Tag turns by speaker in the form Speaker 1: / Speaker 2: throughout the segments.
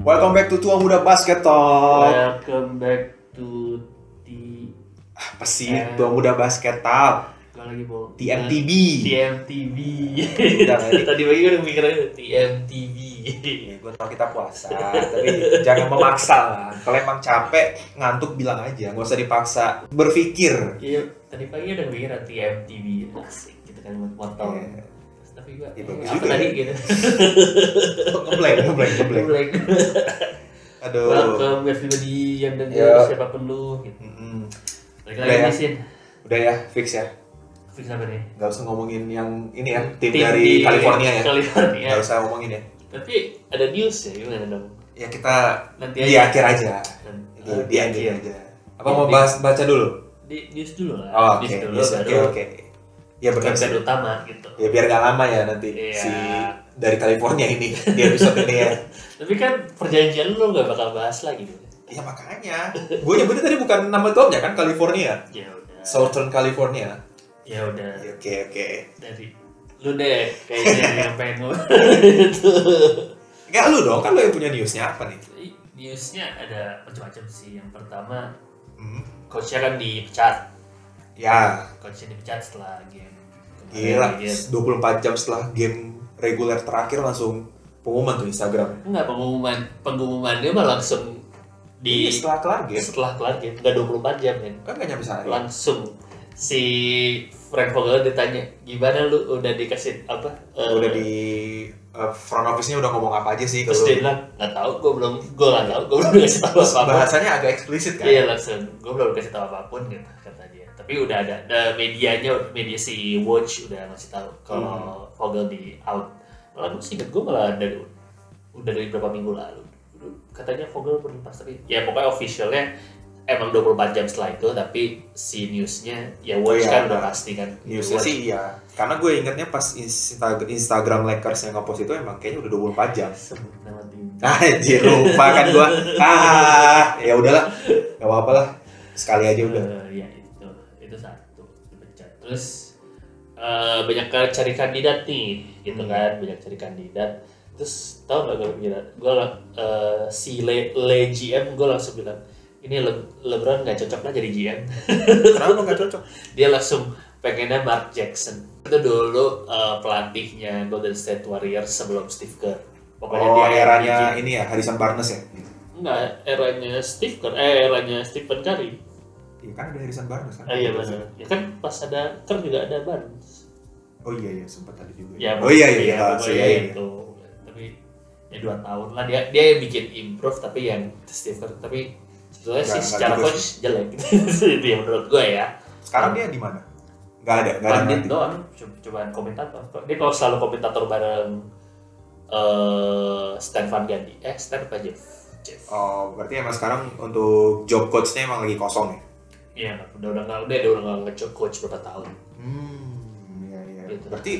Speaker 1: Welcome back to Tua Muda Basket Talk.
Speaker 2: Welcome back to di
Speaker 1: Apa sih Tua Muda Basket Talk?
Speaker 2: kalau lagi bol
Speaker 1: TMTB.
Speaker 2: TMTB
Speaker 1: Udah, Mari.
Speaker 2: tadi pagi gue udah mikirnya TMTB
Speaker 1: Ya, gue tau kita puasa, tapi jangan memaksa lah. Kalau emang capek, ngantuk bilang aja, nggak usah dipaksa. Berpikir.
Speaker 2: iya tadi pagi udah mikir TMTB asik gitu kan buat potong
Speaker 1: Iya.
Speaker 2: Terus tapi gue
Speaker 1: Iya, bagus
Speaker 2: apa
Speaker 1: juga
Speaker 2: tadi
Speaker 1: ya.
Speaker 2: gitu
Speaker 1: Ngeblank, ngeblank, ngeblank.
Speaker 2: Black.
Speaker 1: Aduh.
Speaker 2: welcome everybody yang
Speaker 1: Iya.
Speaker 2: dengar siapapun lu gitu
Speaker 1: Mm-mm.
Speaker 2: lagi
Speaker 1: Udah
Speaker 2: lagi
Speaker 1: ya?
Speaker 2: mesin
Speaker 1: Udah ya, fix ya.
Speaker 2: fix apa nih
Speaker 1: Nggak usah ngomongin yang ini ya, tim,
Speaker 2: Tim
Speaker 1: dari
Speaker 2: di
Speaker 1: California ya.
Speaker 2: California
Speaker 1: Nggak usah ngomongin ya.
Speaker 2: tapi ada news ya gimana dong
Speaker 1: Ya kita
Speaker 2: nanti
Speaker 1: di akhir aja. Di,
Speaker 2: Eh,
Speaker 1: di akhir aja. Apa
Speaker 2: Di-
Speaker 1: mau
Speaker 2: di-
Speaker 1: bahas baca dulu?
Speaker 2: di news dulu lah
Speaker 1: Oh, Oke,
Speaker 2: news dulu
Speaker 1: yes,
Speaker 2: baru
Speaker 1: oke, oke. Ya benar sih.
Speaker 2: konten utama gitu
Speaker 1: ya biar gak lama ya nanti
Speaker 2: Iya.
Speaker 1: si dari California ini di episode ini ya
Speaker 2: tapi kan perjanjian lu nggak bakal bahas lagi gitu
Speaker 1: ya makanya gue nyebutnya tadi bukan nama klubnya kan California
Speaker 2: ya udah
Speaker 1: Southern California
Speaker 2: ya udah
Speaker 1: Ya, oke oke
Speaker 2: dari lu deh kayaknya yang pengen lu
Speaker 1: Enggak lu dong kan lu yang punya newsnya apa nih
Speaker 2: newsnya ada macam-macam sih yang pertama
Speaker 1: hmm.
Speaker 2: coachnya kan dipecat
Speaker 1: ya
Speaker 2: coachnya dipecat setelah game
Speaker 1: gila
Speaker 2: kemarin, gitu.
Speaker 1: 24 jam setelah game reguler terakhir langsung pengumuman tuh Instagram
Speaker 2: nggak pengumuman pengumumannya mah langsung di
Speaker 1: Iya, setelah kelar game
Speaker 2: setelah kelar game nggak 24 jam kan
Speaker 1: kan gak nyampe sehari
Speaker 2: langsung si Frank Vogel ditanya gimana lu udah dikasih apa eh,
Speaker 1: udah di eh, front office-nya udah ngomong apa aja sih ke
Speaker 2: terus
Speaker 1: lu?
Speaker 2: dia bilang nggak tahu gue belum gue nggak tahu gue belum kasih tahu apa apa
Speaker 1: bahasanya agak eksplisit kan
Speaker 2: iya langsung gue belum kasih tahu apapun gitu kata dia tapi udah ada ada medianya media si Watch udah ngasih tahu
Speaker 1: Hmm.
Speaker 2: kalau Vogel di out malah gue singkat gue malah dari udah dari beberapa minggu lalu katanya Vogel berhenti tapi ya pokoknya officialnya emang 24 jam setelah itu tapi si newsnya ya Watch
Speaker 1: Iya,
Speaker 2: kan
Speaker 1: ada.
Speaker 2: udah pasti kan
Speaker 1: Newsnya
Speaker 2: Watch.
Speaker 1: sih iya, karena gue ingetnya pas Insta- Instagram Lakers yang ngepost itu emang kayaknya udah 24 jam.
Speaker 2: sebut nama tim
Speaker 1: Anjir lupa kan gue, ah ya udahlah, gak apa-apa lah, sekali aja Iya, udah.
Speaker 2: Eh, ya itu itu satu dipecat terus eh, banyak ke- cari kandidat nih gitu
Speaker 1: Hmm.
Speaker 2: kan banyak cari kandidat terus tau gak gue bilang gue eh, si le, le GM gue langsung bilang ini Le- LeBron nggak cocok lah jadi GM
Speaker 1: Kenapa nggak cocok?
Speaker 2: dia langsung pengennya Mark Jackson itu dulu eh, pelatihnya Golden State Warriors sebelum Steve Kerr pokoknya
Speaker 1: Oh
Speaker 2: dia yang
Speaker 1: eranya
Speaker 2: bikin-
Speaker 1: ini ya Harrison Barnes ya?
Speaker 2: enggak eranya Steve Kerr eh eranya Stephen Curry
Speaker 1: Iya kan ada Harrison Barnes kan?
Speaker 2: Ah, iya benar. Ya kan pas ada Kerr juga ada Barnes.
Speaker 1: Oh iya iya sempat ada juga.
Speaker 2: Ya,
Speaker 1: oh iya iya
Speaker 2: pokoknya-
Speaker 1: iya.
Speaker 2: pokoknya
Speaker 1: iya, iya.
Speaker 2: itu. Tapi ya dua tahun lah dia dia yang bikin improve tapi yang Steve Kerr tapi sebetulnya
Speaker 1: Nggak-
Speaker 2: sih
Speaker 1: nggak
Speaker 2: secara
Speaker 1: juga
Speaker 2: coach jelek itu yang menurut gue ya.
Speaker 1: Sekarang dia di mana? Gak ada, gak ada.
Speaker 2: Pandit
Speaker 1: nanti.
Speaker 2: doang co- cobaan komentator. Dia kalau selalu komentator bareng eh Stan Van Gundy. Eh Stan apa Jeff? Jeff.
Speaker 1: Oh berarti emang sekarang untuk job coachnya emang lagi kosong ya?
Speaker 2: Iya, udah udah nggak udah dia udah nggak nge- coach berapa tahun.
Speaker 1: Hmm, iya iya.
Speaker 2: Gitu.
Speaker 1: Berarti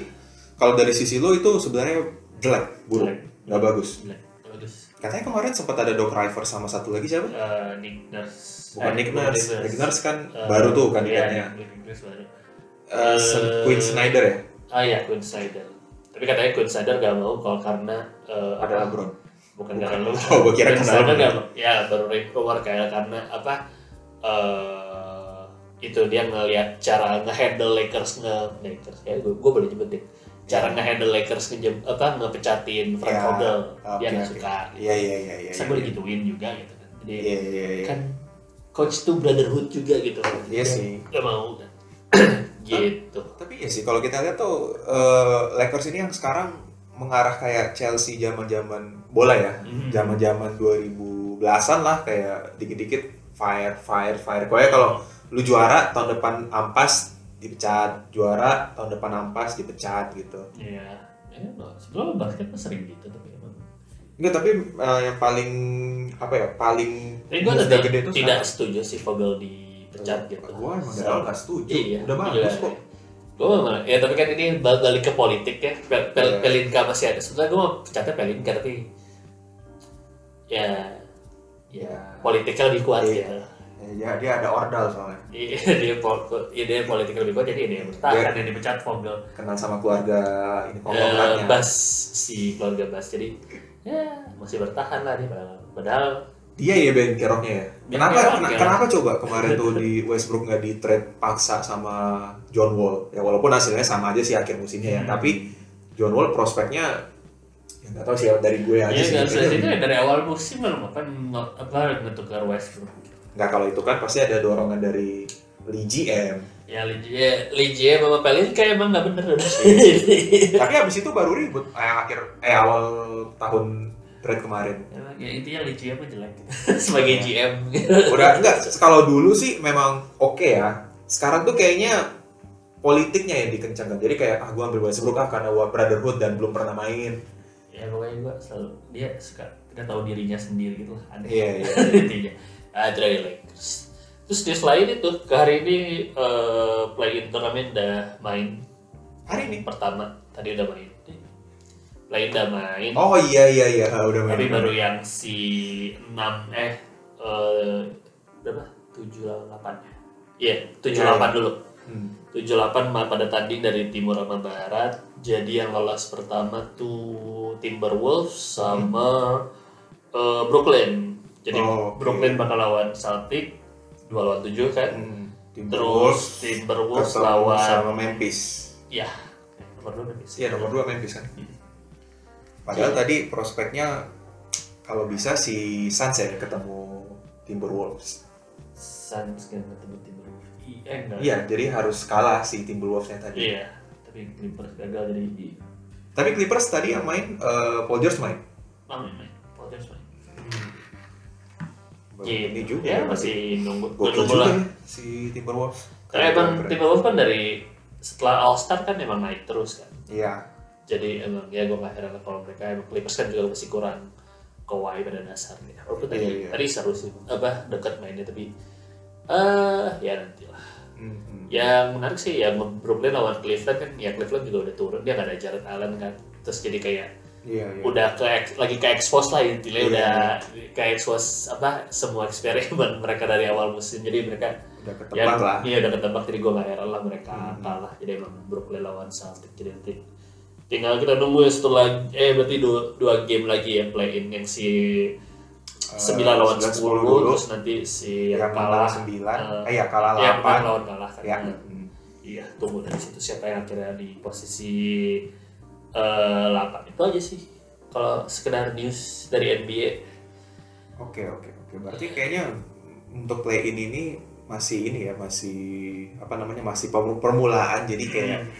Speaker 1: kalau dari sisi lo itu sebenarnya jelek, buruk,
Speaker 2: Jelek.
Speaker 1: nggak bagus.
Speaker 2: Jelek. Bagus.
Speaker 1: Katanya kemarin sempat ada Doc Rivers sama satu lagi siapa?
Speaker 2: Eh, Nick Nurse.
Speaker 1: Bukan
Speaker 2: Eh,
Speaker 1: Nick Nurse.
Speaker 2: Nurse.
Speaker 1: Nick Nurse kan
Speaker 2: Eh,
Speaker 1: baru tuh
Speaker 2: iya,
Speaker 1: kandidatnya.
Speaker 2: Nick Nurse baru.
Speaker 1: Eh,
Speaker 2: Eh,
Speaker 1: Queen Snyder ya?
Speaker 2: Ah iya, Queen Snyder. Tapi katanya Queen Snyder gak mau kalau karena eh,
Speaker 1: Ada
Speaker 2: apa,
Speaker 1: LeBron.
Speaker 2: bukan
Speaker 1: Bukan.
Speaker 2: karena lu.
Speaker 1: Oh, gua kira
Speaker 2: Queen
Speaker 1: karena
Speaker 2: Snyder
Speaker 1: LeBron.
Speaker 2: nggak mau. Ya, baru ring keluar kayak karena apa? eh, itu dia ngelihat cara ngehandle Lakers nge Lakers ya gue gue boleh nyebutin cara ngehandle Lakers ngejem apa ngepecatin Frank
Speaker 1: Ya,
Speaker 2: Vogel
Speaker 1: oke,
Speaker 2: dia nggak
Speaker 1: oke.
Speaker 2: suka gitu.
Speaker 1: Iya iya iya iya. iya.
Speaker 2: Saya gue digituin juga gitu kan. Jadi
Speaker 1: Iya iya iya.
Speaker 2: kan coach tuh brotherhood juga gitu.
Speaker 1: Iya sih.
Speaker 2: Gak mau kan. gitu.
Speaker 1: Tapi ya sih kalau kita lihat tuh eh, Lakers ini yang sekarang mengarah kayak Chelsea zaman-zaman bola ya.
Speaker 2: Mhm.
Speaker 1: Zaman-zaman 2010-an lah kayak dikit-dikit fire fire fire. Pokoknya kalau lu juara tahun depan ampas dipecat, juara tahun depan ampas dipecat gitu.
Speaker 2: Iya. Ya, sebelum basket mah sering gitu tapi emang.
Speaker 1: Enggak, tapi eh, yang paling apa ya? Paling
Speaker 2: Tapi gue
Speaker 1: move-nya
Speaker 2: tetap tidak
Speaker 1: sekarang.
Speaker 2: setuju sih Vogel dipecat gitu.
Speaker 1: Gua emang dari awal nggak setuju.
Speaker 2: Iya.
Speaker 1: Udah bagus kok.
Speaker 2: Gue malah, ya tapi kan ini bal- balik ke politik ya. Pel,
Speaker 1: Iya.
Speaker 2: pel, Pelinka masih ada. Sebenarnya gue mau pecatnya Pelinka tapi ya ya
Speaker 1: Ya.
Speaker 2: politiknya lebih kuat
Speaker 1: Iya.
Speaker 2: ya.
Speaker 1: Ya, dia, dia ada ordal soalnya.
Speaker 2: Iya dia pol, ya, dia politik lebih kuat jadi dia
Speaker 1: Iya.
Speaker 2: yang bertahan yang dipecat Vogel.
Speaker 1: Kenal sama keluarga ini
Speaker 2: Eh,
Speaker 1: konglomeratnya.
Speaker 2: Bas si keluarga Bas jadi ya masih bertahan lah dia padahal, padahal
Speaker 1: Dia ya Ben Keroknya ya.
Speaker 2: Ben
Speaker 1: kenapa
Speaker 2: Kerok,
Speaker 1: kena-
Speaker 2: Kerok.
Speaker 1: kenapa coba kemarin tuh di Westbrook nggak di trade paksa sama John Wall? Ya walaupun hasilnya sama aja sih akhir musimnya ya,
Speaker 2: Hmm.
Speaker 1: tapi John Wall prospeknya ya nggak tahu sih ya, dari gue aja
Speaker 2: dia
Speaker 1: sih.
Speaker 2: nggak
Speaker 1: kayaknya
Speaker 2: selesai itu Iya, kan dari ya. awal musim belum apa apa ngetukar Westbrook
Speaker 1: nggak kalau itu kan pasti ada dorongan dari Lee GM.
Speaker 2: ya Ligie Ligie sama Pelinka emang nggak bener
Speaker 1: Tapi habis itu baru ribut eh, akhir eh awal tahun trade kemarin.
Speaker 2: Emang ya intinya Ligie apa jelek Iya. sebagai GM
Speaker 1: Udah enggak kalau dulu sih memang oke ya. Sekarang tuh kayaknya politiknya yang dikencangkan. Jadi kayak ah gua ambil Westbrook ah karena gua brotherhood dan belum pernah main.
Speaker 2: ya pokoknya gue selalu dia suka tidak tahu dirinya sendiri gitu lah aneh
Speaker 1: Iya iya.
Speaker 2: intinya ah itu dari Lakers terus di selain itu ke hari ini eh, play-in turnamen udah main
Speaker 1: Hari ini.
Speaker 2: pertama tadi udah main play-in udah main
Speaker 1: Oh iya iya iya Ah, udah main.
Speaker 2: tapi Nah, baru yang si 6 eh eh, berapa 7 8 ya iya 78
Speaker 1: Iya,
Speaker 2: dulu
Speaker 1: Hmm.
Speaker 2: 78 ma- pada tanding dari timur sama barat jadi yang lolos pertama tuh Timberwolves sama eh, Brooklyn jadi
Speaker 1: Oh, oke.
Speaker 2: Brooklyn bakal lawan Celtic 2 lawan 7 kan
Speaker 1: Hmm.
Speaker 2: terus Timberwolves
Speaker 1: ketemu
Speaker 2: lawan
Speaker 1: sama Memphis.
Speaker 2: ya nomor 2 Memphis
Speaker 1: Iya nomor 2 Memphis kan.
Speaker 2: Hmm.
Speaker 1: Padahal
Speaker 2: Iya.
Speaker 1: tadi prospeknya kalau bisa si Suns ya ketemu Timberwolves.
Speaker 2: Suns kan ketemu Timberwolves I- eh enggak
Speaker 1: Iya, jadi harus kalah si Timberwolvesnya tadi.
Speaker 2: Iya, tapi Clippers gagal jadi di
Speaker 1: Tapi Clippers tadi yang main eh, Paul George main.
Speaker 2: main main. Paul George main.
Speaker 1: Baru
Speaker 2: Iya,
Speaker 1: Ini juga.
Speaker 2: Ya, masih nunggu
Speaker 1: Gokil
Speaker 2: nunggu
Speaker 1: juga
Speaker 2: lah.
Speaker 1: ya, si Timberwolves.
Speaker 2: Karena emang
Speaker 1: Keren.
Speaker 2: Timberwolves kan dari setelah All Star kan emang naik terus kan.
Speaker 1: Iya.
Speaker 2: Jadi emang ya gue nggak heran kalau mereka emang Clippers kan juga masih kurang kawaii pada dasarnya. Walaupun tadi,
Speaker 1: Iya, iya.
Speaker 2: tadi seru sih apa dekat mainnya tapi eh ya nanti lah.
Speaker 1: Mhm.
Speaker 2: Yang menarik sih yang Brooklyn lawan Cleveland kan ya Cleveland juga udah turun dia nggak ada Jared Allen kan. Terus jadi kayak
Speaker 1: Iya, iya.
Speaker 2: udah ke lagi ke expose lah intinya
Speaker 1: Iya.
Speaker 2: udah ke expose apa semua eksperimen mereka dari awal musim jadi mereka
Speaker 1: Udah ketebak lah.
Speaker 2: iya udah ketebak jadi gue gak heran lah mereka
Speaker 1: Hmm.
Speaker 2: kalah jadi emang Brooklyn lawan Celtic jadi nanti tinggal kita nunggu ya setelah eh berarti dua, dua game lagi yang play in yang si
Speaker 1: Eh,
Speaker 2: 9 lawan 10,
Speaker 1: 9, dulu.
Speaker 2: terus nanti si
Speaker 1: Yang
Speaker 2: yang
Speaker 1: kalah
Speaker 2: kalah
Speaker 1: 9.
Speaker 2: eh,
Speaker 1: eh, ya kalah
Speaker 2: ya, menang
Speaker 1: 8.
Speaker 2: lawan kalah kan
Speaker 1: Ya.
Speaker 2: Nah,
Speaker 1: Mhm.
Speaker 2: iya tunggu dari situ siapa yang akhirnya di posisi eh 8 itu aja sih kalau sekedar news dari NBA
Speaker 1: Oke, oke, oke. Berarti kayaknya untuk play in ini masih ini ya, masih apa namanya? Masih pem- permulaan. Jadi kayak
Speaker 2: Hmm.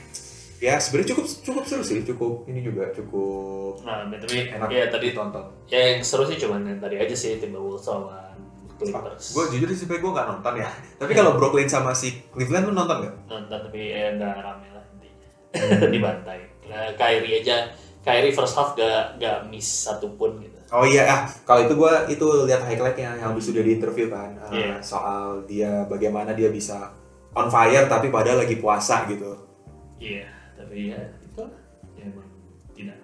Speaker 1: ya sebenarnya cukup cukup seru sih, cukup ini juga cukup
Speaker 2: nah tapi
Speaker 1: enak
Speaker 2: ya tadi
Speaker 1: ditonton.
Speaker 2: ya yang seru sih cuman yang tadi aja sih Timberwolves sama Clippers
Speaker 1: Gue jujur sih gue gak nonton ya. Tapi kalau Brooklyn sama si Cleveland lu nonton gak?
Speaker 2: nonton tapi ya nggak rame lah intinya Hmm. dibantai nah, Kyrie aja Kyrie first half gak gak miss satupun gitu
Speaker 1: Oh iya, ah, kalau itu gue itu lihat highlightnya yang habis sudah diinterview kan ah,
Speaker 2: Iya.
Speaker 1: soal dia bagaimana dia bisa on fire tapi padahal lagi puasa gitu.
Speaker 2: iya tapi ya itu lah ya emang tidak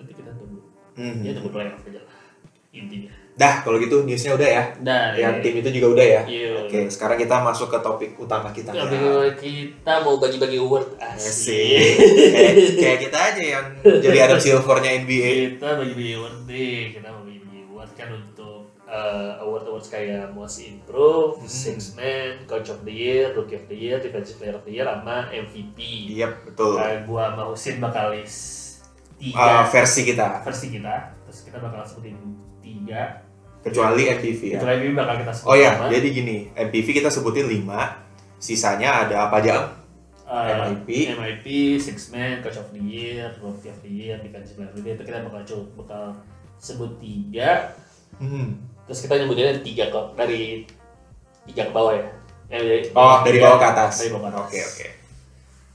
Speaker 2: nanti kita tunggu
Speaker 1: Mhm.
Speaker 2: ya tunggu playoff aja lah intinya
Speaker 1: Dah kalau gitu newsnya udah ya,
Speaker 2: dan
Speaker 1: yang tim itu juga udah ya.
Speaker 2: Iya.
Speaker 1: Oke, sekarang kita masuk ke topik utama kita.
Speaker 2: Tapi
Speaker 1: Ya.
Speaker 2: kita mau bagi-bagi award
Speaker 1: Iya. Asik.
Speaker 2: asik.
Speaker 1: kayak, kayak kita aja yang jadi Adam Silvernya NBA.
Speaker 2: kita bagi-bagi award nih kita mau bagi-bagi award kan untuk award awards kayak most improved,
Speaker 1: Hmm.
Speaker 2: six man, coach of the year, rookie of the year, defensive player of the year, sama MVP.
Speaker 1: Iya betul.
Speaker 2: Nah, gua sama Husin bakal list
Speaker 1: Ah,
Speaker 2: tiga
Speaker 1: versi kita
Speaker 2: versi kita, terus kita bakal sebutin tiga.
Speaker 1: kecuali MPV ya.
Speaker 2: Itu MVP bakal kita sebut
Speaker 1: Oh ya,
Speaker 2: sama.
Speaker 1: jadi gini, MPV kita sebutin 5 sisanya ada apa aja? Am?
Speaker 2: Eh,
Speaker 1: MIP.
Speaker 2: MIP, six man, coach of the year, rookie of the year, defensive player of the year. Itu kita bakal coba bakal sebut tiga.
Speaker 1: Hmm.
Speaker 2: terus kita nyebutinnya dari tiga kok dari tiga ke bawah ya Eh, dari-
Speaker 1: Oh, dari
Speaker 2: tiga-
Speaker 1: bawah ke atas.
Speaker 2: dari bawah ke atas
Speaker 1: Oke, oke.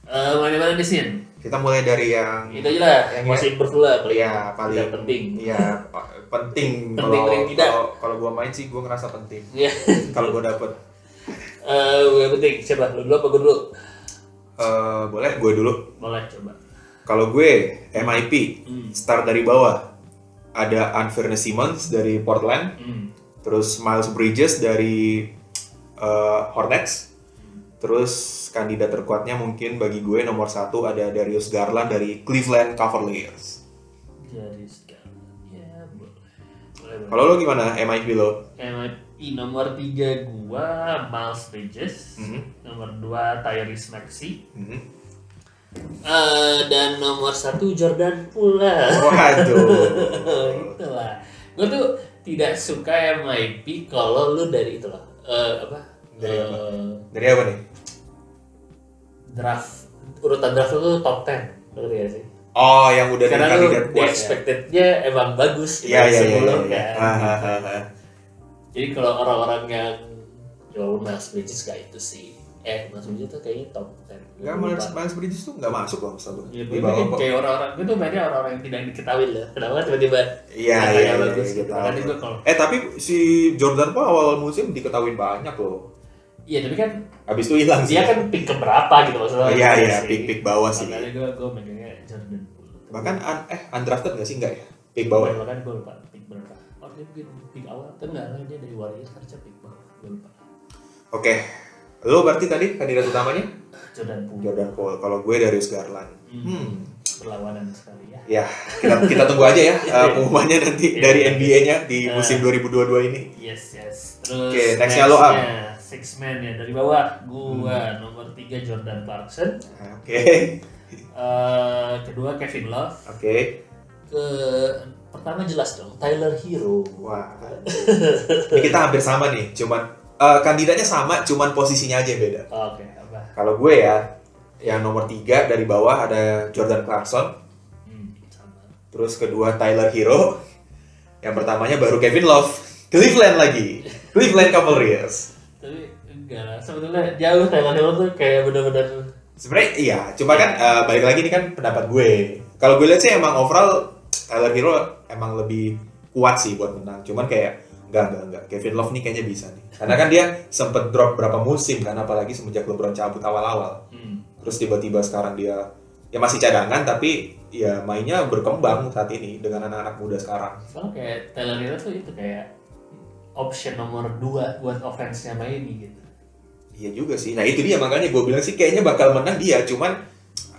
Speaker 2: Eh, mulai dari mana di sini
Speaker 1: Kita mulai dari yang
Speaker 2: itu aja lah
Speaker 1: Yang
Speaker 2: masih improve lah paling
Speaker 1: ya paling
Speaker 2: tidak penting
Speaker 1: Iya, pa- penting.
Speaker 2: Penting,
Speaker 1: Kalau-
Speaker 2: paling tidak.
Speaker 1: kalau- Kalau gua main sih gua ngerasa penting.
Speaker 2: Iya.
Speaker 1: Kalau gua dapet
Speaker 2: Eh, yang penting siapa lu dulu apa gue dulu
Speaker 1: eh, boleh gue dulu.
Speaker 2: boleh coba
Speaker 1: Kalau gue MIP
Speaker 2: hmm.
Speaker 1: start dari bawah. Ada Anfernee Simmons dari Portland,
Speaker 2: Hmm.
Speaker 1: terus Miles Bridges dari eh, Hornets. Terus kandidat terkuatnya mungkin bagi gue nomor satu ada Darius Garland dari Cleveland Cavaliers.
Speaker 2: jadi sekarang ya Boleh, boleh.
Speaker 1: Kalau lo gimana MIP lo?
Speaker 2: MIP nomor 3 gua Miles Bridges,
Speaker 1: Mhm.
Speaker 2: nomor 2 Tyrese Maxey,
Speaker 1: Hmm.
Speaker 2: eh dan nomor 1 Jordan Pula.
Speaker 1: Waduh.
Speaker 2: Itulah. Gua tuh tidak suka MIP kalau lu dari itulah. Eh apa?
Speaker 1: Dari apa?
Speaker 2: Eh,
Speaker 1: Dari apa nih?
Speaker 2: draft urutan draft lu top 10. Ngerti gak sih?
Speaker 1: Oh, yang udah
Speaker 2: Karena lu
Speaker 1: kandidat
Speaker 2: di
Speaker 1: kuat ya.
Speaker 2: expectednya emang bagus gitu
Speaker 1: Iya, iya, iya.
Speaker 2: sebelum
Speaker 1: iya.
Speaker 2: kan.
Speaker 1: Ah, ah, ah, ah.
Speaker 2: Jadi kalau orang-orang yang jual Miles Bridges gak itu sih. Eh, Miles Bridges tuh kayaknya top 10.
Speaker 1: Enggak, Miles, Miles Bridges tuh nggak masuk loh selalu.
Speaker 2: Ya,
Speaker 1: Di
Speaker 2: gue
Speaker 1: bawah
Speaker 2: tuh
Speaker 1: kok.
Speaker 2: kayak orang-orang, gue tuh mainnya orang-orang yang tidak diketahui lah. Kenapa tiba-tiba
Speaker 1: Iya,
Speaker 2: katanya
Speaker 1: iya, iya,
Speaker 2: bagus
Speaker 1: iya,
Speaker 2: gitu.
Speaker 1: tahu.
Speaker 2: Makanya gue kalau,
Speaker 1: Eh, tapi si Jordan Poole awal musim diketahuin banyak loh.
Speaker 2: iya tapi kan
Speaker 1: Habis itu hilang sih.
Speaker 2: dia kan pick keberapa gitu maksudnya.
Speaker 1: Oh, iya, iya,
Speaker 2: sih.
Speaker 1: pick-pick bawah sih.
Speaker 2: Makanya gue, gue mainnya Jordan Poole.
Speaker 1: Bahkan un- eh undrafted nggak sih enggak ya? Pick
Speaker 2: bawah.
Speaker 1: bawah.
Speaker 2: Iya, Bahkan gue lupa pick berapa. Oh dia mungkin pick awal, tapi nggak lah dia dari Warriors harusnya pick bawah. Gue lupa.
Speaker 1: Oke. Lo berarti tadi kandidat utamanya
Speaker 2: Jordan Poole
Speaker 1: Jordan Poole. Kalau gue Darius Garland. Hmm.
Speaker 2: perlawanan sekali ya.
Speaker 1: Ya, kita kita tunggu aja ya eh, pengumumannya nanti
Speaker 2: Iya.
Speaker 1: dari NBA-nya di musim 2022 ini.
Speaker 2: Yes, yes. Terus
Speaker 1: Oke, nextnya lo, Am.
Speaker 2: nextnya, Six man ya dari bawah.
Speaker 1: Hmm.
Speaker 2: Gua nomor 3 Jordan Clarkson.
Speaker 1: Oke.
Speaker 2: Eh, kedua Kevin Love.
Speaker 1: Oke.
Speaker 2: ke pertama jelas dong Tyler Hero
Speaker 1: Wah. Ini kita hampir sama nih, cuman eh, kandidatnya sama, cuman posisinya aja yang beda.
Speaker 2: oke apa
Speaker 1: Kalau gue ya, yang nomor tiga dari bawah ada Jordan Clarkson,
Speaker 2: hmm, sama
Speaker 1: terus kedua Tyler Hero, yang pertamanya baru Kevin Love, Cleveland lagi, Cleveland Cavaliers.
Speaker 2: tapi enggak lah sebetulnya jauh Tyler Hero tuh kayak bener-bener
Speaker 1: Sebenarnya iya, cuma kan eh, balik lagi ini kan pendapat gue. Kalau gue lihat sih emang overall Tyler Hero emang lebih kuat sih buat menang. Cuman kayak enggak enggak enggak Kevin Love nih kayaknya bisa nih. Karena kan dia sempet drop berapa musim kan apalagi semenjak LeBron cabut awal-awal.
Speaker 2: hmm,
Speaker 1: terus tiba-tiba sekarang dia ya masih cadangan tapi ya mainnya berkembang saat ini dengan anak-anak muda sekarang
Speaker 2: soalnya kayak Tyler Hero tuh itu kayak option nomor 2 buat offense-nya Miami gitu
Speaker 1: iya juga sih nah itu dia makanya gue bilang sih kayaknya bakal menang dia cuman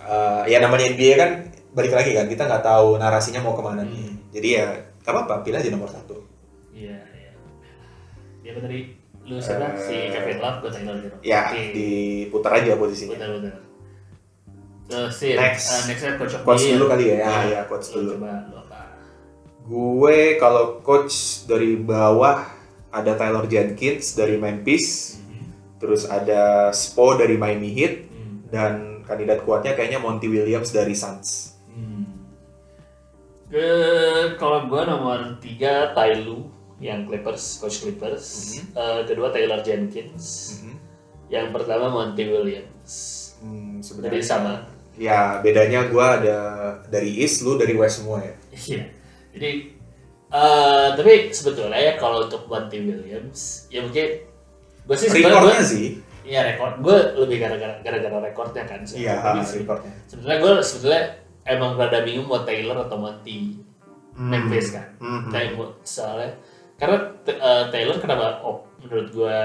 Speaker 1: eh, ya namanya NBA kan balik lagi kan kita nggak tahu narasinya mau kemana nih
Speaker 2: Hmm.
Speaker 1: jadi ya gak apa-apa pilih aja nomor satu
Speaker 2: iya iya dia apa tadi lu siapa
Speaker 1: Eh,
Speaker 2: si Kevin Love gue Tyler Hero
Speaker 1: ya
Speaker 2: Oke.
Speaker 1: diputar aja posisinya
Speaker 2: bener-bener terus si
Speaker 1: Next.
Speaker 2: eh, nextnya Coach
Speaker 1: coach
Speaker 2: O'Neal.
Speaker 1: dulu kali ya ya,
Speaker 2: Nah,
Speaker 1: ya coach
Speaker 2: lu
Speaker 1: dulu
Speaker 2: coba lu apa
Speaker 1: gue kalau coach dari bawah ada Tyler Jenkins dari Memphis terus ada Spo dari Miami Heat
Speaker 2: Hmm.
Speaker 1: dan kandidat kuatnya kayaknya Monty Williams dari Suns.
Speaker 2: Hmm. Ke kalau gua nomor 3 Tai Lu yang Clippers, coach Clippers.
Speaker 1: Hmm.
Speaker 2: Eh, kedua Taylor Jenkins. Yang pertama Monty Williams.
Speaker 1: Hmm, sebenarnya
Speaker 2: Jadi sama.
Speaker 1: ya bedanya gua ada dari East lu dari West semua ya.
Speaker 2: Iya. Jadi eh tapi sebetulnya ya kalau untuk Monty Williams ya mungkin gue sih sebenarnya
Speaker 1: Rekornya
Speaker 2: gue
Speaker 1: sih.
Speaker 2: ya rekor gue lebih gara-gara gara-gara rekornya kan
Speaker 1: Iya,
Speaker 2: sebenarnya. Tapi se-
Speaker 1: rekornya.
Speaker 2: sebetulnya gue sebetulnya emang rada bingung mau Taylor atau Monty
Speaker 1: Hmm.
Speaker 2: Memphis kan
Speaker 1: Mhm.
Speaker 2: Kayak buat soalnya karena t- eh, Taylor kenapa op menurut gua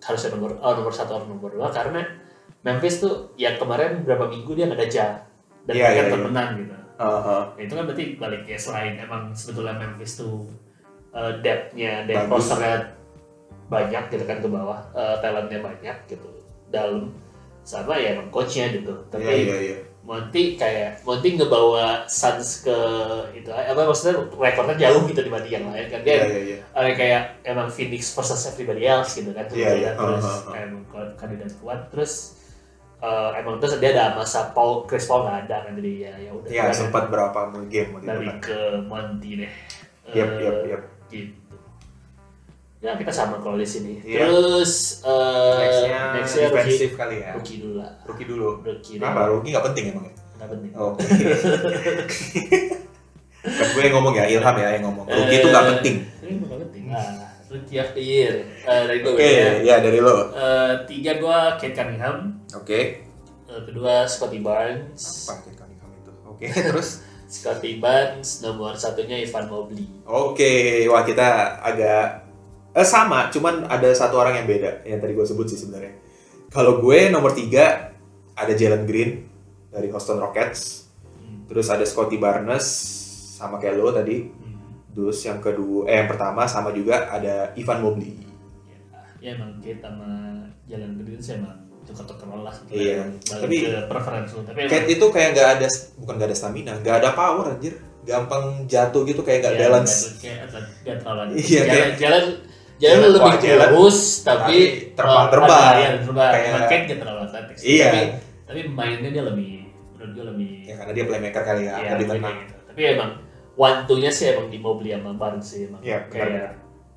Speaker 2: harusnya nomor oh, nomor satu atau nomor dua karena Memphis tuh yang kemarin berapa minggu dia nggak ada Ja dan
Speaker 1: Iya,
Speaker 2: dia kan
Speaker 1: iya, iya.
Speaker 2: termenang gitu.
Speaker 1: Aha. Iya,
Speaker 2: Nah, itu kan berarti balik ya selain emang sebetulnya Memphis tuh eh, depth-nya depth
Speaker 1: Bagus.
Speaker 2: rosternya banyak gitu kan ke bawah eh, talentnya banyak gitu dalam sama ya emang coachnya gitu tapi
Speaker 1: Iya iya iya.
Speaker 2: Monty kayak Monty ngebawa Suns ke itu eh, apa maksudnya rekornya jauh gitu dibanding yang lain kan dia
Speaker 1: Iya iya iya.
Speaker 2: eh, kayak emang Phoenix versus everybody else gitu kan
Speaker 1: Iya, iya.
Speaker 2: terus
Speaker 1: Ha,
Speaker 2: kan,
Speaker 1: ha, ha.
Speaker 2: emang ko- kandidat kuat terus eh, emang terus dia ada masa Paul Chris Paul nggak ada kan jadi ya ya udah
Speaker 1: Iya
Speaker 2: kan,
Speaker 1: sempat berapa game waktu itu
Speaker 2: balik
Speaker 1: kan.
Speaker 2: ke Monty deh Eh,
Speaker 1: Yap yap yap.
Speaker 2: gitu ya kita sama kalau di sini
Speaker 1: Iya.
Speaker 2: terus eh
Speaker 1: Nextnya
Speaker 2: nextnya rookie,
Speaker 1: defensif kali ya.
Speaker 2: rookie dulu lah
Speaker 1: Rookie dulu.
Speaker 2: rookie
Speaker 1: Kenapa? Rookie nggak penting emang ya?
Speaker 2: nggak penting
Speaker 1: Oke. Kan gue yang ngomong ya, Ilham ya yang ngomong. Rookie itu nggak
Speaker 2: Eh,
Speaker 1: penting.
Speaker 2: Ini bukan penting. Nah, rookie of the year. Eh, dari gue
Speaker 1: Oke, ya dari lo. Oke.
Speaker 2: Eh, tiga gue Kate Cunningham. Eh, kedua Scotty Barnes.
Speaker 1: Apa Kate Cunningham itu? Oke, terus
Speaker 2: Scotty Barnes nomor satunya Ivan Mobley.
Speaker 1: Oke, wah kita agak eh, sama, cuman ada satu orang yang beda yang tadi gue sebut sih sebenarnya. Kalau gue nomor tiga ada Jalen Green dari Houston Rockets,
Speaker 2: Hmm.
Speaker 1: terus ada Scotty Barnes sama kayak lo tadi, Terus yang kedua, eh yang pertama sama juga ada Ivan Mobley.
Speaker 2: ya emang Kate sama Jalan Gede itu emang tukar-tukar lelah gitu
Speaker 1: Iya.
Speaker 2: kan. Balik
Speaker 1: Tapi-
Speaker 2: ke preference lu tapi emang
Speaker 1: Kate itu kayak nggak ada, bukan nggak ada stamina, nggak ada power anjir. Gampang jatuh gitu kayak nggak
Speaker 2: ya,
Speaker 1: balance.
Speaker 2: nggak- kayak atlet- nggak terlalu lanjut.
Speaker 1: Iya,
Speaker 2: jalan,
Speaker 1: kayak-
Speaker 2: jalan jalan
Speaker 1: jalan
Speaker 2: lebih
Speaker 1: kuat, jalan,
Speaker 2: kurus tapi
Speaker 1: tapi terbang-terbang.
Speaker 2: kalau ada- iya, terbang
Speaker 1: Kayak-
Speaker 2: Emang Kate nggak terlalu atletik sih.
Speaker 1: Iya.
Speaker 2: tapi tapi mainnya dia lebih menurut gue lebih
Speaker 1: Ya karena dia playmaker kali ya,
Speaker 2: Iya,
Speaker 1: lebih
Speaker 2: gue
Speaker 1: tenang.
Speaker 2: kayak gitu. Tapi emang wantunya sih emang di Mobley sama Barnes sih emang
Speaker 1: Iya,
Speaker 2: kayak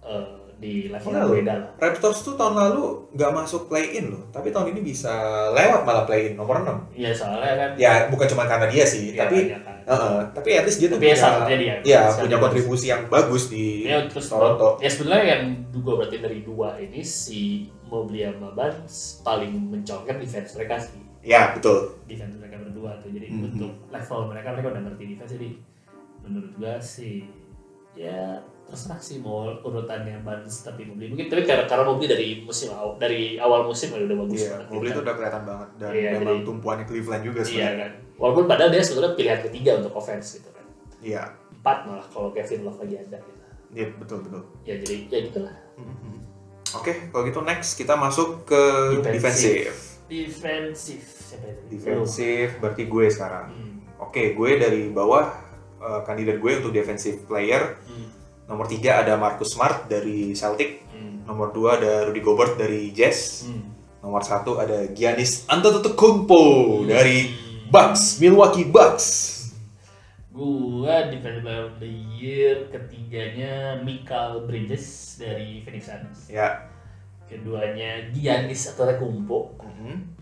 Speaker 2: eh, di level
Speaker 1: Iya,
Speaker 2: yang
Speaker 1: loh.
Speaker 2: beda lah.
Speaker 1: Raptors tuh tahun lalu nggak masuk play-in loh, tapi tahun ini bisa lewat malah play-in nomor 6.
Speaker 2: Iya soalnya kan
Speaker 1: Ya bukan cuma karena dia sih,
Speaker 2: dia
Speaker 1: tapi
Speaker 2: banyak kan.
Speaker 1: Heeh, tapi at least dia tuh
Speaker 2: tapi ya satunya dia.
Speaker 1: ya,
Speaker 2: Satunya
Speaker 1: punya
Speaker 2: dia.
Speaker 1: kontribusi yang bagus di
Speaker 2: Ya terus
Speaker 1: Toronto.
Speaker 2: ya sebenarnya yang gue berarti dari dua ini si Mobley sama Barnes paling mencolok defense mereka sih.
Speaker 1: Ya betul.
Speaker 2: Defense mereka berdua tuh jadi
Speaker 1: Mhm.
Speaker 2: untuk level mereka mereka udah ngerti defense jadi menurut gue sih ya terserah sih mau urutannya Barnes tapi Mobley mungkin tapi karena karena Mobley dari musim awal dari awal musim udah bagus
Speaker 1: Iya,
Speaker 2: banget
Speaker 1: Mobley
Speaker 2: gitu
Speaker 1: itu udah kelihatan banget dan
Speaker 2: Iya,
Speaker 1: memang
Speaker 2: jadi-
Speaker 1: tumpuannya Cleveland juga
Speaker 2: Iya
Speaker 1: sebenarnya.
Speaker 2: kan. Walaupun padahal dia sebenarnya pilihan ketiga untuk offense gitu kan.
Speaker 1: Iya,
Speaker 2: Empat malah kalau Kevin Love lagi ada gitu.
Speaker 1: iya betul betul.
Speaker 2: Ya jadi ya gitulah.
Speaker 1: Mhm. Oke, kalau gitu next kita masuk ke
Speaker 2: Defensif.
Speaker 1: defensif.
Speaker 2: Defensif siapa itu?
Speaker 1: Defensif berarti gue sekarang.
Speaker 2: Hmm.
Speaker 1: Oke, gue dari bawah eh, kandidat gue untuk defensive player
Speaker 2: Hmm.
Speaker 1: nomor 3 ada Marcus Smart dari Celtic,
Speaker 2: Hmm.
Speaker 1: nomor 2 ada Rudy Gobert dari Jazz,
Speaker 2: Hmm.
Speaker 1: nomor 1 ada Giannis Antetokounmpo Oh, dari
Speaker 2: Hmm.
Speaker 1: Bucks, Milwaukee Bucks.
Speaker 2: Gua defensive player of the year ketiganya Michael Bridges dari Phoenix Suns.
Speaker 1: Ya.
Speaker 2: Keduanya Giannis Antetokounmpo.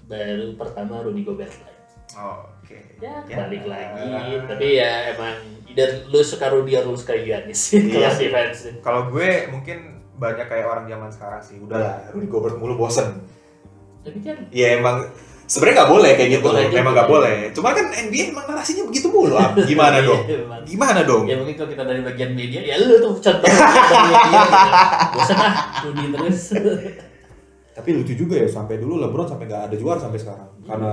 Speaker 2: Baru pertama Rudy Gobert lagi.
Speaker 1: Oke.
Speaker 2: ya balik
Speaker 1: kan.
Speaker 2: lagi tapi ya emang either lu suka Rudy atau lu suka Giannis
Speaker 1: Iya.
Speaker 2: kalau defense
Speaker 1: Kalau gue mungkin banyak kayak orang zaman sekarang sih. Udahlah, Rudy Gobert mulu bosen.
Speaker 2: tapi kan
Speaker 1: Ya emang sebenarnya nggak boleh kayak gitu.
Speaker 2: Boleh gitu.
Speaker 1: Memang nggak boleh. Cuma kan NBA emang narasinya begitu mulu. Am.
Speaker 2: Iya.
Speaker 1: Gimana dong?
Speaker 2: Emang.
Speaker 1: Gimana dong?
Speaker 2: ya mungkin kalau kita dari bagian media ya lu tuh contoh contoh media gitu. bosan ah Rudy terus
Speaker 1: Tapi lucu juga ya sampai dulu LeBron sampai nggak ada juara sampai sekarang. Karena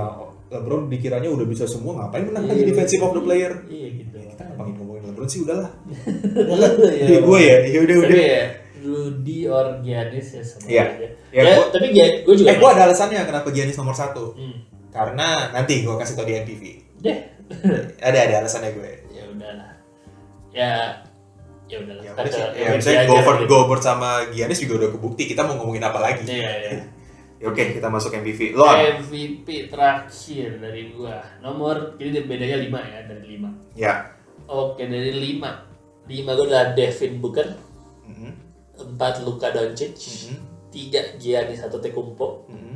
Speaker 1: LeBron dikiranya udah bisa semua ngapain menang lagi
Speaker 2: Hmm. Iya.
Speaker 1: defensive of the player.
Speaker 2: iya gitu
Speaker 1: Ya, kita ngapain ngomongin LeBron sih udahlah.
Speaker 2: Iya.
Speaker 1: Ini gue ya. Ya udah
Speaker 2: tapi
Speaker 1: udah.
Speaker 2: ya Rudy or Giannis ya sama
Speaker 1: Iya.
Speaker 2: aja
Speaker 1: Ya,
Speaker 2: ya,
Speaker 1: gua-
Speaker 2: tapi Gia- gua juga
Speaker 1: Eh, gue ada alasannya kenapa Giannis nomor satu.
Speaker 2: hmm.
Speaker 1: Karena nanti gue kasih tau di MTV.
Speaker 2: deh Hmm.
Speaker 1: ada ada alasannya gue
Speaker 2: ya udahlah ya ya udahlah
Speaker 1: ya
Speaker 2: Kita
Speaker 1: udah sih
Speaker 2: ke-
Speaker 1: ya
Speaker 2: ke
Speaker 1: misalnya
Speaker 2: media aja,
Speaker 1: Gobert
Speaker 2: gitu.
Speaker 1: Gobert sama Giannis juga udah kebukti kita mau ngomongin apa lagi
Speaker 2: iya Eh. iya
Speaker 1: Ya, oke kita masuk MVP Lon
Speaker 2: MVP terakhir dari gua. Nomor ini bedanya 5 ya dari 5.
Speaker 1: ya
Speaker 2: Oke, dari 5. 5 gua adalah Devin Booker,
Speaker 1: Mhm,
Speaker 2: 4 Luka Doncic,
Speaker 1: mhm,
Speaker 2: 3 Giannis Antetokounmpo,
Speaker 1: mhm.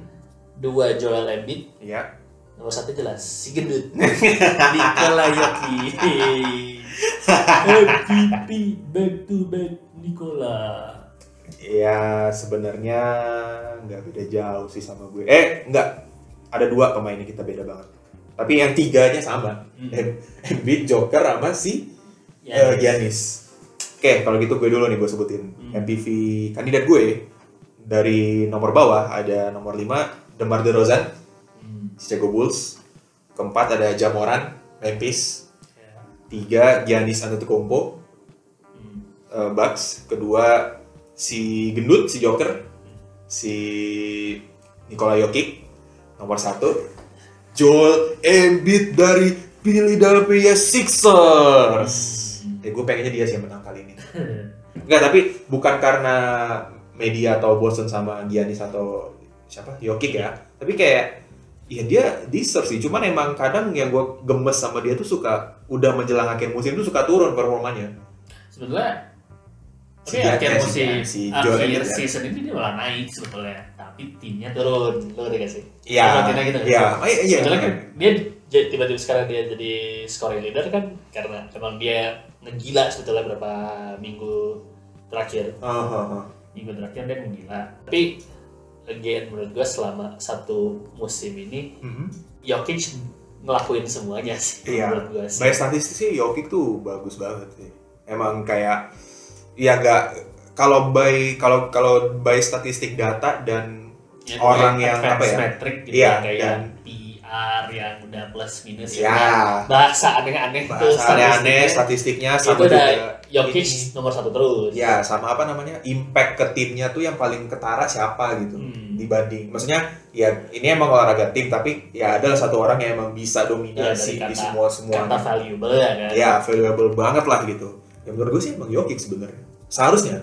Speaker 2: 2 Joel Embiid,
Speaker 1: ya
Speaker 2: nomor 1 jelas si gendut Nikola Jokic. MVP Eh, back to back Nikola.
Speaker 1: ya sebenarnya nggak beda jauh sih sama gue eh nggak ada dua pemain yang kita beda banget tapi yang tiganya sama
Speaker 2: Hmm. Ya,
Speaker 1: Embiid Joker sama si eh, Giannis oke kalau gitu gue dulu nih gue sebutin
Speaker 2: Hmm.
Speaker 1: MVP kandidat gue dari nomor bawah ada nomor 5 Demar DeRozan
Speaker 2: Hmm.
Speaker 1: Chicago Bulls. Keempat ada Jamoran, Memphis.
Speaker 2: Ya.
Speaker 1: Tiga Giannis Antetokounmpo,
Speaker 2: Hmm.
Speaker 1: eh, Bucks. Kedua si gendut, si Joker, si Nikola Jokic. Nomor satu Joel Embiid dari Philadelphia Sixers.
Speaker 2: Hmm.
Speaker 1: Ya gue pengennya dia sih yang menang kali ini. Enggak, tapi bukan karena media atau bosen sama Giannis atau siapa Jokic ya. Tapi kayak ya dia deserve sih. Cuman emang kadang yang gue gemes sama dia tuh suka udah menjelang akhir musim tuh suka turun performanya.
Speaker 2: sebetulnya
Speaker 1: Si
Speaker 2: tapi akhir
Speaker 1: Jack-
Speaker 2: musim
Speaker 1: si Joel
Speaker 2: akhir
Speaker 1: Embiid, ya.
Speaker 2: season ini dia malah naik sebetulnya tapi timnya turun lo ngerti gak sih
Speaker 1: Iya.
Speaker 2: Perhatian gitu kan?
Speaker 1: Iya. Oh, Iya. iya.
Speaker 2: sebetulnya kan dia j- tiba-tiba sekarang dia jadi scoring leader kan karena emang dia ngegila sebetulnya berapa minggu terakhir
Speaker 1: Ah, ah, ah.
Speaker 2: minggu terakhir dia ngegila tapi again menurut gua selama satu musim ini
Speaker 1: Mhm.
Speaker 2: Jokic ngelakuin semuanya sih
Speaker 1: Iya.
Speaker 2: menurut gua sih
Speaker 1: By statistik sih Jokic tuh bagus banget sih. Emang kayak ya nggak kalau by kalau kalau by statistik data dan
Speaker 2: Ya,
Speaker 1: orang
Speaker 2: kayak
Speaker 1: yang apa
Speaker 2: advanced
Speaker 1: ya?
Speaker 2: metric gitu
Speaker 1: Iya,
Speaker 2: kayak
Speaker 1: dan-
Speaker 2: PR VAR yang udah plus minus
Speaker 1: Ya.
Speaker 2: yang bahasa aneh-aneh tuh
Speaker 1: Bahasa aneh,
Speaker 2: statistiknya.
Speaker 1: statistiknya
Speaker 2: itu
Speaker 1: sama
Speaker 2: udah
Speaker 1: juga.
Speaker 2: Jokic
Speaker 1: ini.
Speaker 2: nomor satu terus
Speaker 1: Ya, sama apa namanya? Impact ke timnya tuh yang paling ketara siapa gitu.
Speaker 2: Hmm.
Speaker 1: Dibanding maksudnya ya ini emang olahraga tim tapi ya adalah satu orang yang emang bisa dominasi
Speaker 2: Ya, dari
Speaker 1: di
Speaker 2: kata-
Speaker 1: semua semua.
Speaker 2: kata valuable ya kan
Speaker 1: ya valuable banget lah gitu ya menurut gue sih emang Jokic sebenarnya seharusnya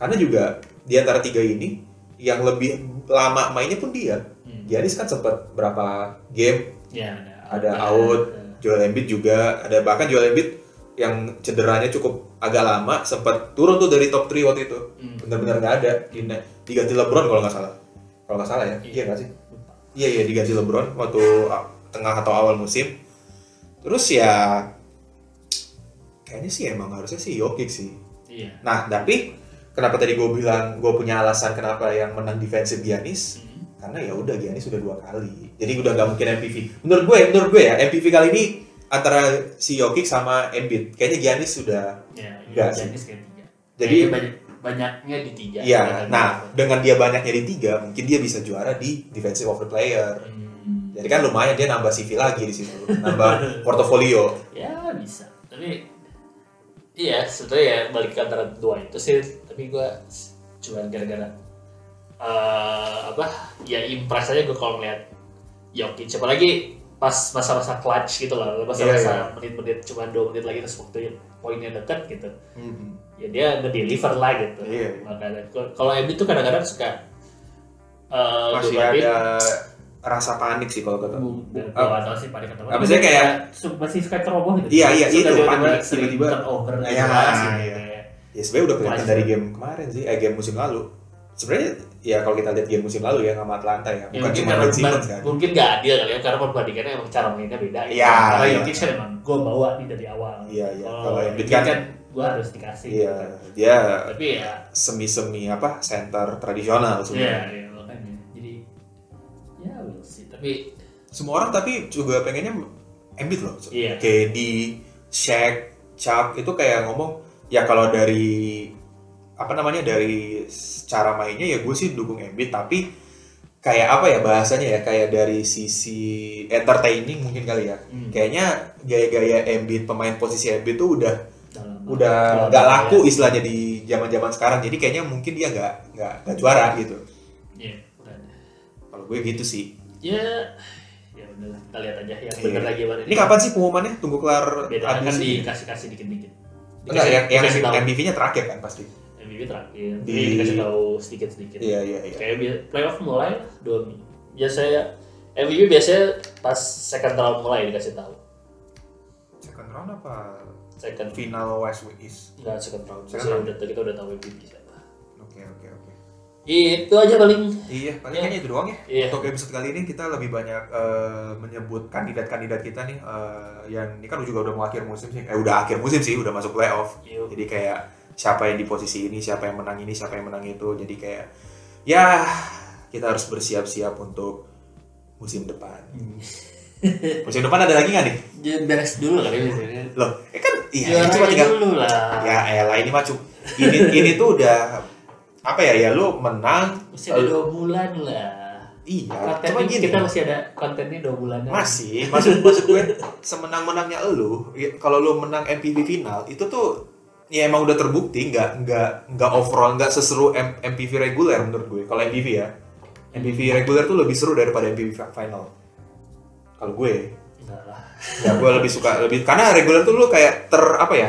Speaker 1: karena juga di antara tiga ini yang lebih lama mainnya pun dia
Speaker 2: Hmm.
Speaker 1: Giannis kan sempat berapa game
Speaker 2: Ya, ada,
Speaker 1: Ada out. Joel Embiid juga ada bahkan Joel Embiid yang cederanya cukup agak lama sempat turun tuh dari top 3 waktu itu
Speaker 2: Hmm.
Speaker 1: benar-benar nggak ada Dina- diganti LeBron kalau nggak salah kalau nggak salah ya
Speaker 2: Iya.
Speaker 1: iya nggak sih iya iya diganti LeBron waktu a- tengah atau awal musim terus ya kayaknya sih emang harusnya sih Jokic sih
Speaker 2: Iya.
Speaker 1: nah tapi kenapa tadi gue bilang gue punya alasan kenapa yang menang defensive Giannis
Speaker 2: Hmm.
Speaker 1: karena ya udah Giannis sudah dua kali jadi udah nggak mungkin MPV menurut gue menurut gue ya MPV kali ini antara si Jokic sama Embiid kayaknya Giannis sudah
Speaker 2: Ya,
Speaker 1: Nggak
Speaker 2: iya,
Speaker 1: sih.
Speaker 2: Giannis ketiga.
Speaker 1: jadi
Speaker 2: Kayaknya banyak, banyaknya gitu. di tiga.
Speaker 1: Iya,
Speaker 2: Bukan
Speaker 1: nah
Speaker 2: di-
Speaker 1: dengan dia banyaknya di tiga, mungkin dia bisa juara di defensive of the player.
Speaker 2: Hmm.
Speaker 1: Jadi kan lumayan dia nambah CV lagi di situ, nambah portofolio.
Speaker 2: ya bisa tapi iya sebetulnya ya balik ke antara dua itu sih tapi gue cuma gara-gara eh apa ya impress aja gue kalau ngeliat Jokic apalagi pas masa-masa clutch gitu lah
Speaker 1: Iya,
Speaker 2: masa-masa menit-menit cuma dua menit lagi terus waktu poinnya deket gitu
Speaker 1: Mhm.
Speaker 2: ya dia ngedeliver lah gitu
Speaker 1: Iya.
Speaker 2: makanya kalau- kalau Embiid tuh kadang-kadang suka eh Hmm,
Speaker 1: Masih
Speaker 2: gua banding-
Speaker 1: ada rasa panik sih kalau Ah, kata.
Speaker 2: Bukan,
Speaker 1: Apa?
Speaker 2: gak tau sih pada ketemu.
Speaker 1: Apa sih kayak-
Speaker 2: Su- masih suka ceroboh gitu.
Speaker 1: Iya, iya,
Speaker 2: Suka
Speaker 1: itu,
Speaker 2: tiba-tiba
Speaker 1: panik,
Speaker 2: sering
Speaker 1: tiba-tiba.
Speaker 2: turnover gitu
Speaker 1: Iya,
Speaker 2: lah, sih,
Speaker 1: iya.
Speaker 2: kayak.
Speaker 1: Ya sebenarnya udah kelihatan
Speaker 2: Masih.
Speaker 1: dari game kemarin sih, eh game musim lalu. Sebenarnya ya kalau kita lihat game musim lalu ya sama Atlanta ya,
Speaker 2: Ya,
Speaker 1: bukan
Speaker 2: mungkin
Speaker 1: cuma
Speaker 2: karena
Speaker 1: Ben Simmons kan.
Speaker 2: mungkin nggak adil kali ya karena perbandingannya emang cara mainnya beda. gitu.
Speaker 1: Iya,
Speaker 2: Karena
Speaker 1: iya.
Speaker 2: Jokic kan emang gue bawa nih dari awal.
Speaker 1: Iya, iya. Kalau
Speaker 2: Kalau
Speaker 1: Embiid
Speaker 2: Embiid
Speaker 1: kan-
Speaker 2: kan gue harus dikasih.
Speaker 1: Iya,
Speaker 2: gitu.
Speaker 1: dia
Speaker 2: Tapi ya,
Speaker 1: semi-semi apa center tradisional
Speaker 2: iya,
Speaker 1: sebenarnya.
Speaker 2: iya makanya. Jadi ya we'll see. Tapi
Speaker 1: Semua orang tapi juga pengennya Embiid loh.
Speaker 2: Iya.
Speaker 1: KD, Shaq, Chuck itu kayak ngomong ya kalau dari apa namanya dari cara mainnya ya gue sih dukung Embiid tapi kayak apa ya bahasanya ya kayak dari sisi entertaining mungkin kali ya.
Speaker 2: hmm,
Speaker 1: Kayaknya gaya-gaya Embiid pemain posisi Embiid tuh udah
Speaker 2: dalam-
Speaker 1: udah
Speaker 2: dalam-
Speaker 1: nggak laku istilahnya di zaman-zaman sekarang. Jadi kayaknya mungkin dia nggak nggak nggak juara gitu.
Speaker 2: Iya, udah.
Speaker 1: Kalau gue gitu sih.
Speaker 2: ya ya udah lah, kita lihat aja yang
Speaker 1: Iya.
Speaker 2: bener lagi mana
Speaker 1: Ini kapan sih pengumumannya? Tunggu kelar
Speaker 2: beda kan
Speaker 1: audisi.
Speaker 2: dikasih kasih dikit dikit
Speaker 1: Enggak, yang, yang
Speaker 2: dikasih tahu
Speaker 1: MVP-nya terakhir kan pasti.
Speaker 2: MVP terakhir
Speaker 1: Di-
Speaker 2: Jadi iya. dikasih tahu sedikit sedikit
Speaker 1: Iya, iya, iya.
Speaker 2: kayak bi- playoff mulai lah, dua minggu biasanya MVP biasanya pas second round mulai dikasih tahu
Speaker 1: Second round apa?
Speaker 2: second
Speaker 1: Final West East.
Speaker 2: enggak second round
Speaker 1: Second
Speaker 2: Biasanya
Speaker 1: round.
Speaker 2: udah kita udah tahu MVP siapa
Speaker 1: Oke, oke, oke.
Speaker 2: itu aja paling
Speaker 1: Iya, paling
Speaker 2: Iya.
Speaker 1: kayaknya itu doang ya.
Speaker 2: Iya.
Speaker 1: Untuk episode kali ini kita lebih banyak eh, menyebut kandidat-kandidat kita nih eh, yang ini kan juga udah mau akhir musim sih. Eh, udah akhir musim sih, udah masuk playoff.
Speaker 2: Yuk.
Speaker 1: Jadi kayak siapa yang di posisi ini, siapa yang menang ini, siapa yang menang itu. Jadi kayak ya kita harus bersiap-siap untuk musim depan. Musim depan ada lagi nggak nih?
Speaker 2: jadi beres dulu kali ini sebenarnya.
Speaker 1: Loh, eh kan iya
Speaker 2: Juara
Speaker 1: cuma tiga
Speaker 2: dulu lah
Speaker 1: ya elah ini mah cu- ini ini tuh udah apa ya ya lu menang
Speaker 2: masih ada
Speaker 1: eh,
Speaker 2: dua bulan lah
Speaker 1: iya
Speaker 2: konten
Speaker 1: cuma
Speaker 2: ini
Speaker 1: gini
Speaker 2: kita masih ada kontennya dua bulan
Speaker 1: masih maksud maksud gue semenang menangnya lu ya, kalau lu menang MPV final itu tuh ya emang udah terbukti nggak nggak nggak overall nggak seseru M- MPV reguler menurut gue kalau MPV ya MPV reguler tuh lebih seru daripada MPV fa- final kalau gue
Speaker 2: enggak lah
Speaker 1: ya gue lebih suka lebih karena reguler tuh lu kayak ter apa ya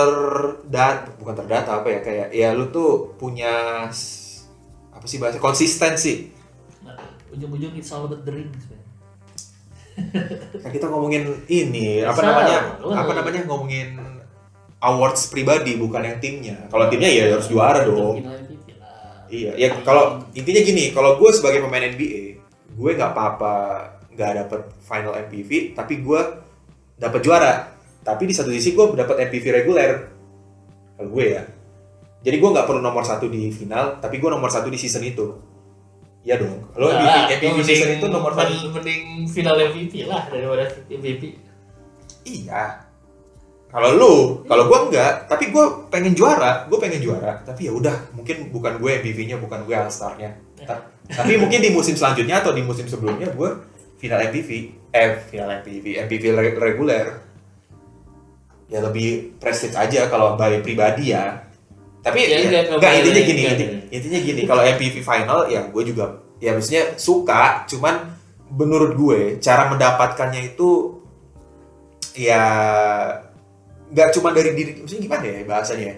Speaker 1: terdata bukan terdata apa ya kayak ya lu tuh punya s- apa sih bahasa konsistensi
Speaker 2: Nah, ujung-ujung it's all about the ring sebenarnya.
Speaker 1: kan kita ngomongin ini apa
Speaker 2: Bisa,
Speaker 1: namanya
Speaker 2: lu-
Speaker 1: apa namanya ngomongin awards pribadi bukan yang timnya kalau timnya ya harus juara dong
Speaker 2: Final MVP lah.
Speaker 1: iya ya kalau intinya gini kalau gue sebagai pemain NBA gue nggak apa-apa nggak dapet final MPV tapi gue dapet juara tapi di satu sisi gue dapet MPV reguler kalau gue ya jadi gue nggak perlu nomor satu di final tapi gue nomor satu di season itu Iya dong lo
Speaker 2: Enggak
Speaker 1: MVP,
Speaker 2: lah,
Speaker 1: MVP
Speaker 2: mending-
Speaker 1: season itu nomor satu
Speaker 2: mending- mending final MVP lah daripada MVP.
Speaker 1: Iya. Kalau lu, kalau gua enggak, tapi gua pengen juara, gua pengen juara. Tapi ya udah, mungkin bukan gue MVP-nya, bukan gue all star-nya. Ta- Tapi mungkin di musim selanjutnya atau di musim sebelumnya gua final MPV, eh final MPV, MPV re- reguler, ya lebih prestige aja kalau balik pribadi ya. Tapi
Speaker 2: Ya,
Speaker 1: ya,
Speaker 2: enggak, kalau
Speaker 1: enggak,
Speaker 2: balik-
Speaker 1: intinya gini,
Speaker 2: enggak,
Speaker 1: inti-
Speaker 2: enggak.
Speaker 1: intinya gini, kalau MPV final ya gue juga ya maksudnya suka, cuman menurut gue cara mendapatkannya itu ya nggak cuma dari diri, maksudnya gimana ya bahasanya ya?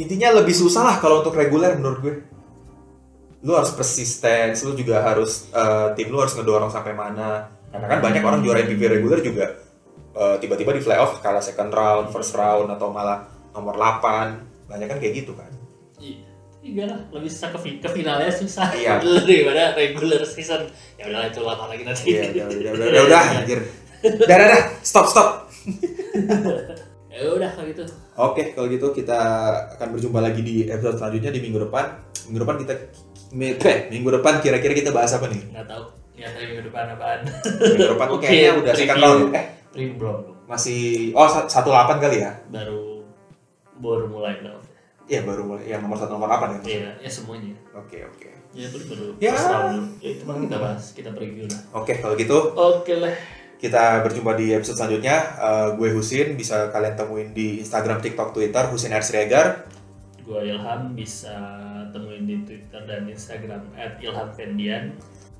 Speaker 1: Intinya lebih susah lah kalau untuk reguler menurut gue lu harus persisten, lu juga harus eh, tim lu harus ngedorong sampai mana. Karena kan banyak orang juara MPV reguler juga eh, tiba-tiba di playoff kalah second round, first round atau malah nomor 8. Banyak kan kayak gitu kan.
Speaker 2: Iya lah, lebih susah ke, fi- ke finalnya susah
Speaker 1: Iya.
Speaker 2: daripada regular season. Ya udahlah itu lama lagi nanti.
Speaker 1: Iya, udah udah udah udah, udah anjir. Udah, udah, udah, stop stop.
Speaker 2: Ya udah kalau gitu.
Speaker 1: Oke, kalau gitu kita akan berjumpa lagi di episode selanjutnya di minggu depan. Minggu depan kita mi- eh, minggu depan kira-kira kita bahas apa nih?
Speaker 2: Nggak tahu. Ya dari minggu depan apaan?
Speaker 1: Minggu depan tuh
Speaker 2: Oke,
Speaker 1: kayaknya udah
Speaker 2: review.
Speaker 1: second round. Eh,
Speaker 2: Review belum belum.
Speaker 1: masih oh sa- 18 kali ya?
Speaker 2: Baru baru mulai belum.
Speaker 1: Iya, baru mulai. Ya nomor satu nomor apa nih?
Speaker 2: Iya, ya semuanya.
Speaker 1: Oke, oke.
Speaker 2: Ya baru baru.
Speaker 1: Ya.
Speaker 2: first round dulu. Ya itu baru kita bahas, kita preview lah.
Speaker 1: Oke, kalau gitu
Speaker 2: Oke lah.
Speaker 1: kita berjumpa di episode selanjutnya. Eh, gue Husin, bisa kalian temuin di Instagram, TikTok, Twitter, Husin R. Siregar.
Speaker 2: Gua Ilham bisa temuin di Twitter dan Instagram @ilhamfendian.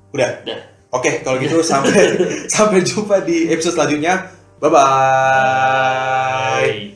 Speaker 1: Udah.
Speaker 2: Udah.
Speaker 1: Oke, kalau
Speaker 2: Iya.
Speaker 1: gitu sampai sampai jumpa di episode selanjutnya. Bye bye.
Speaker 2: Bye.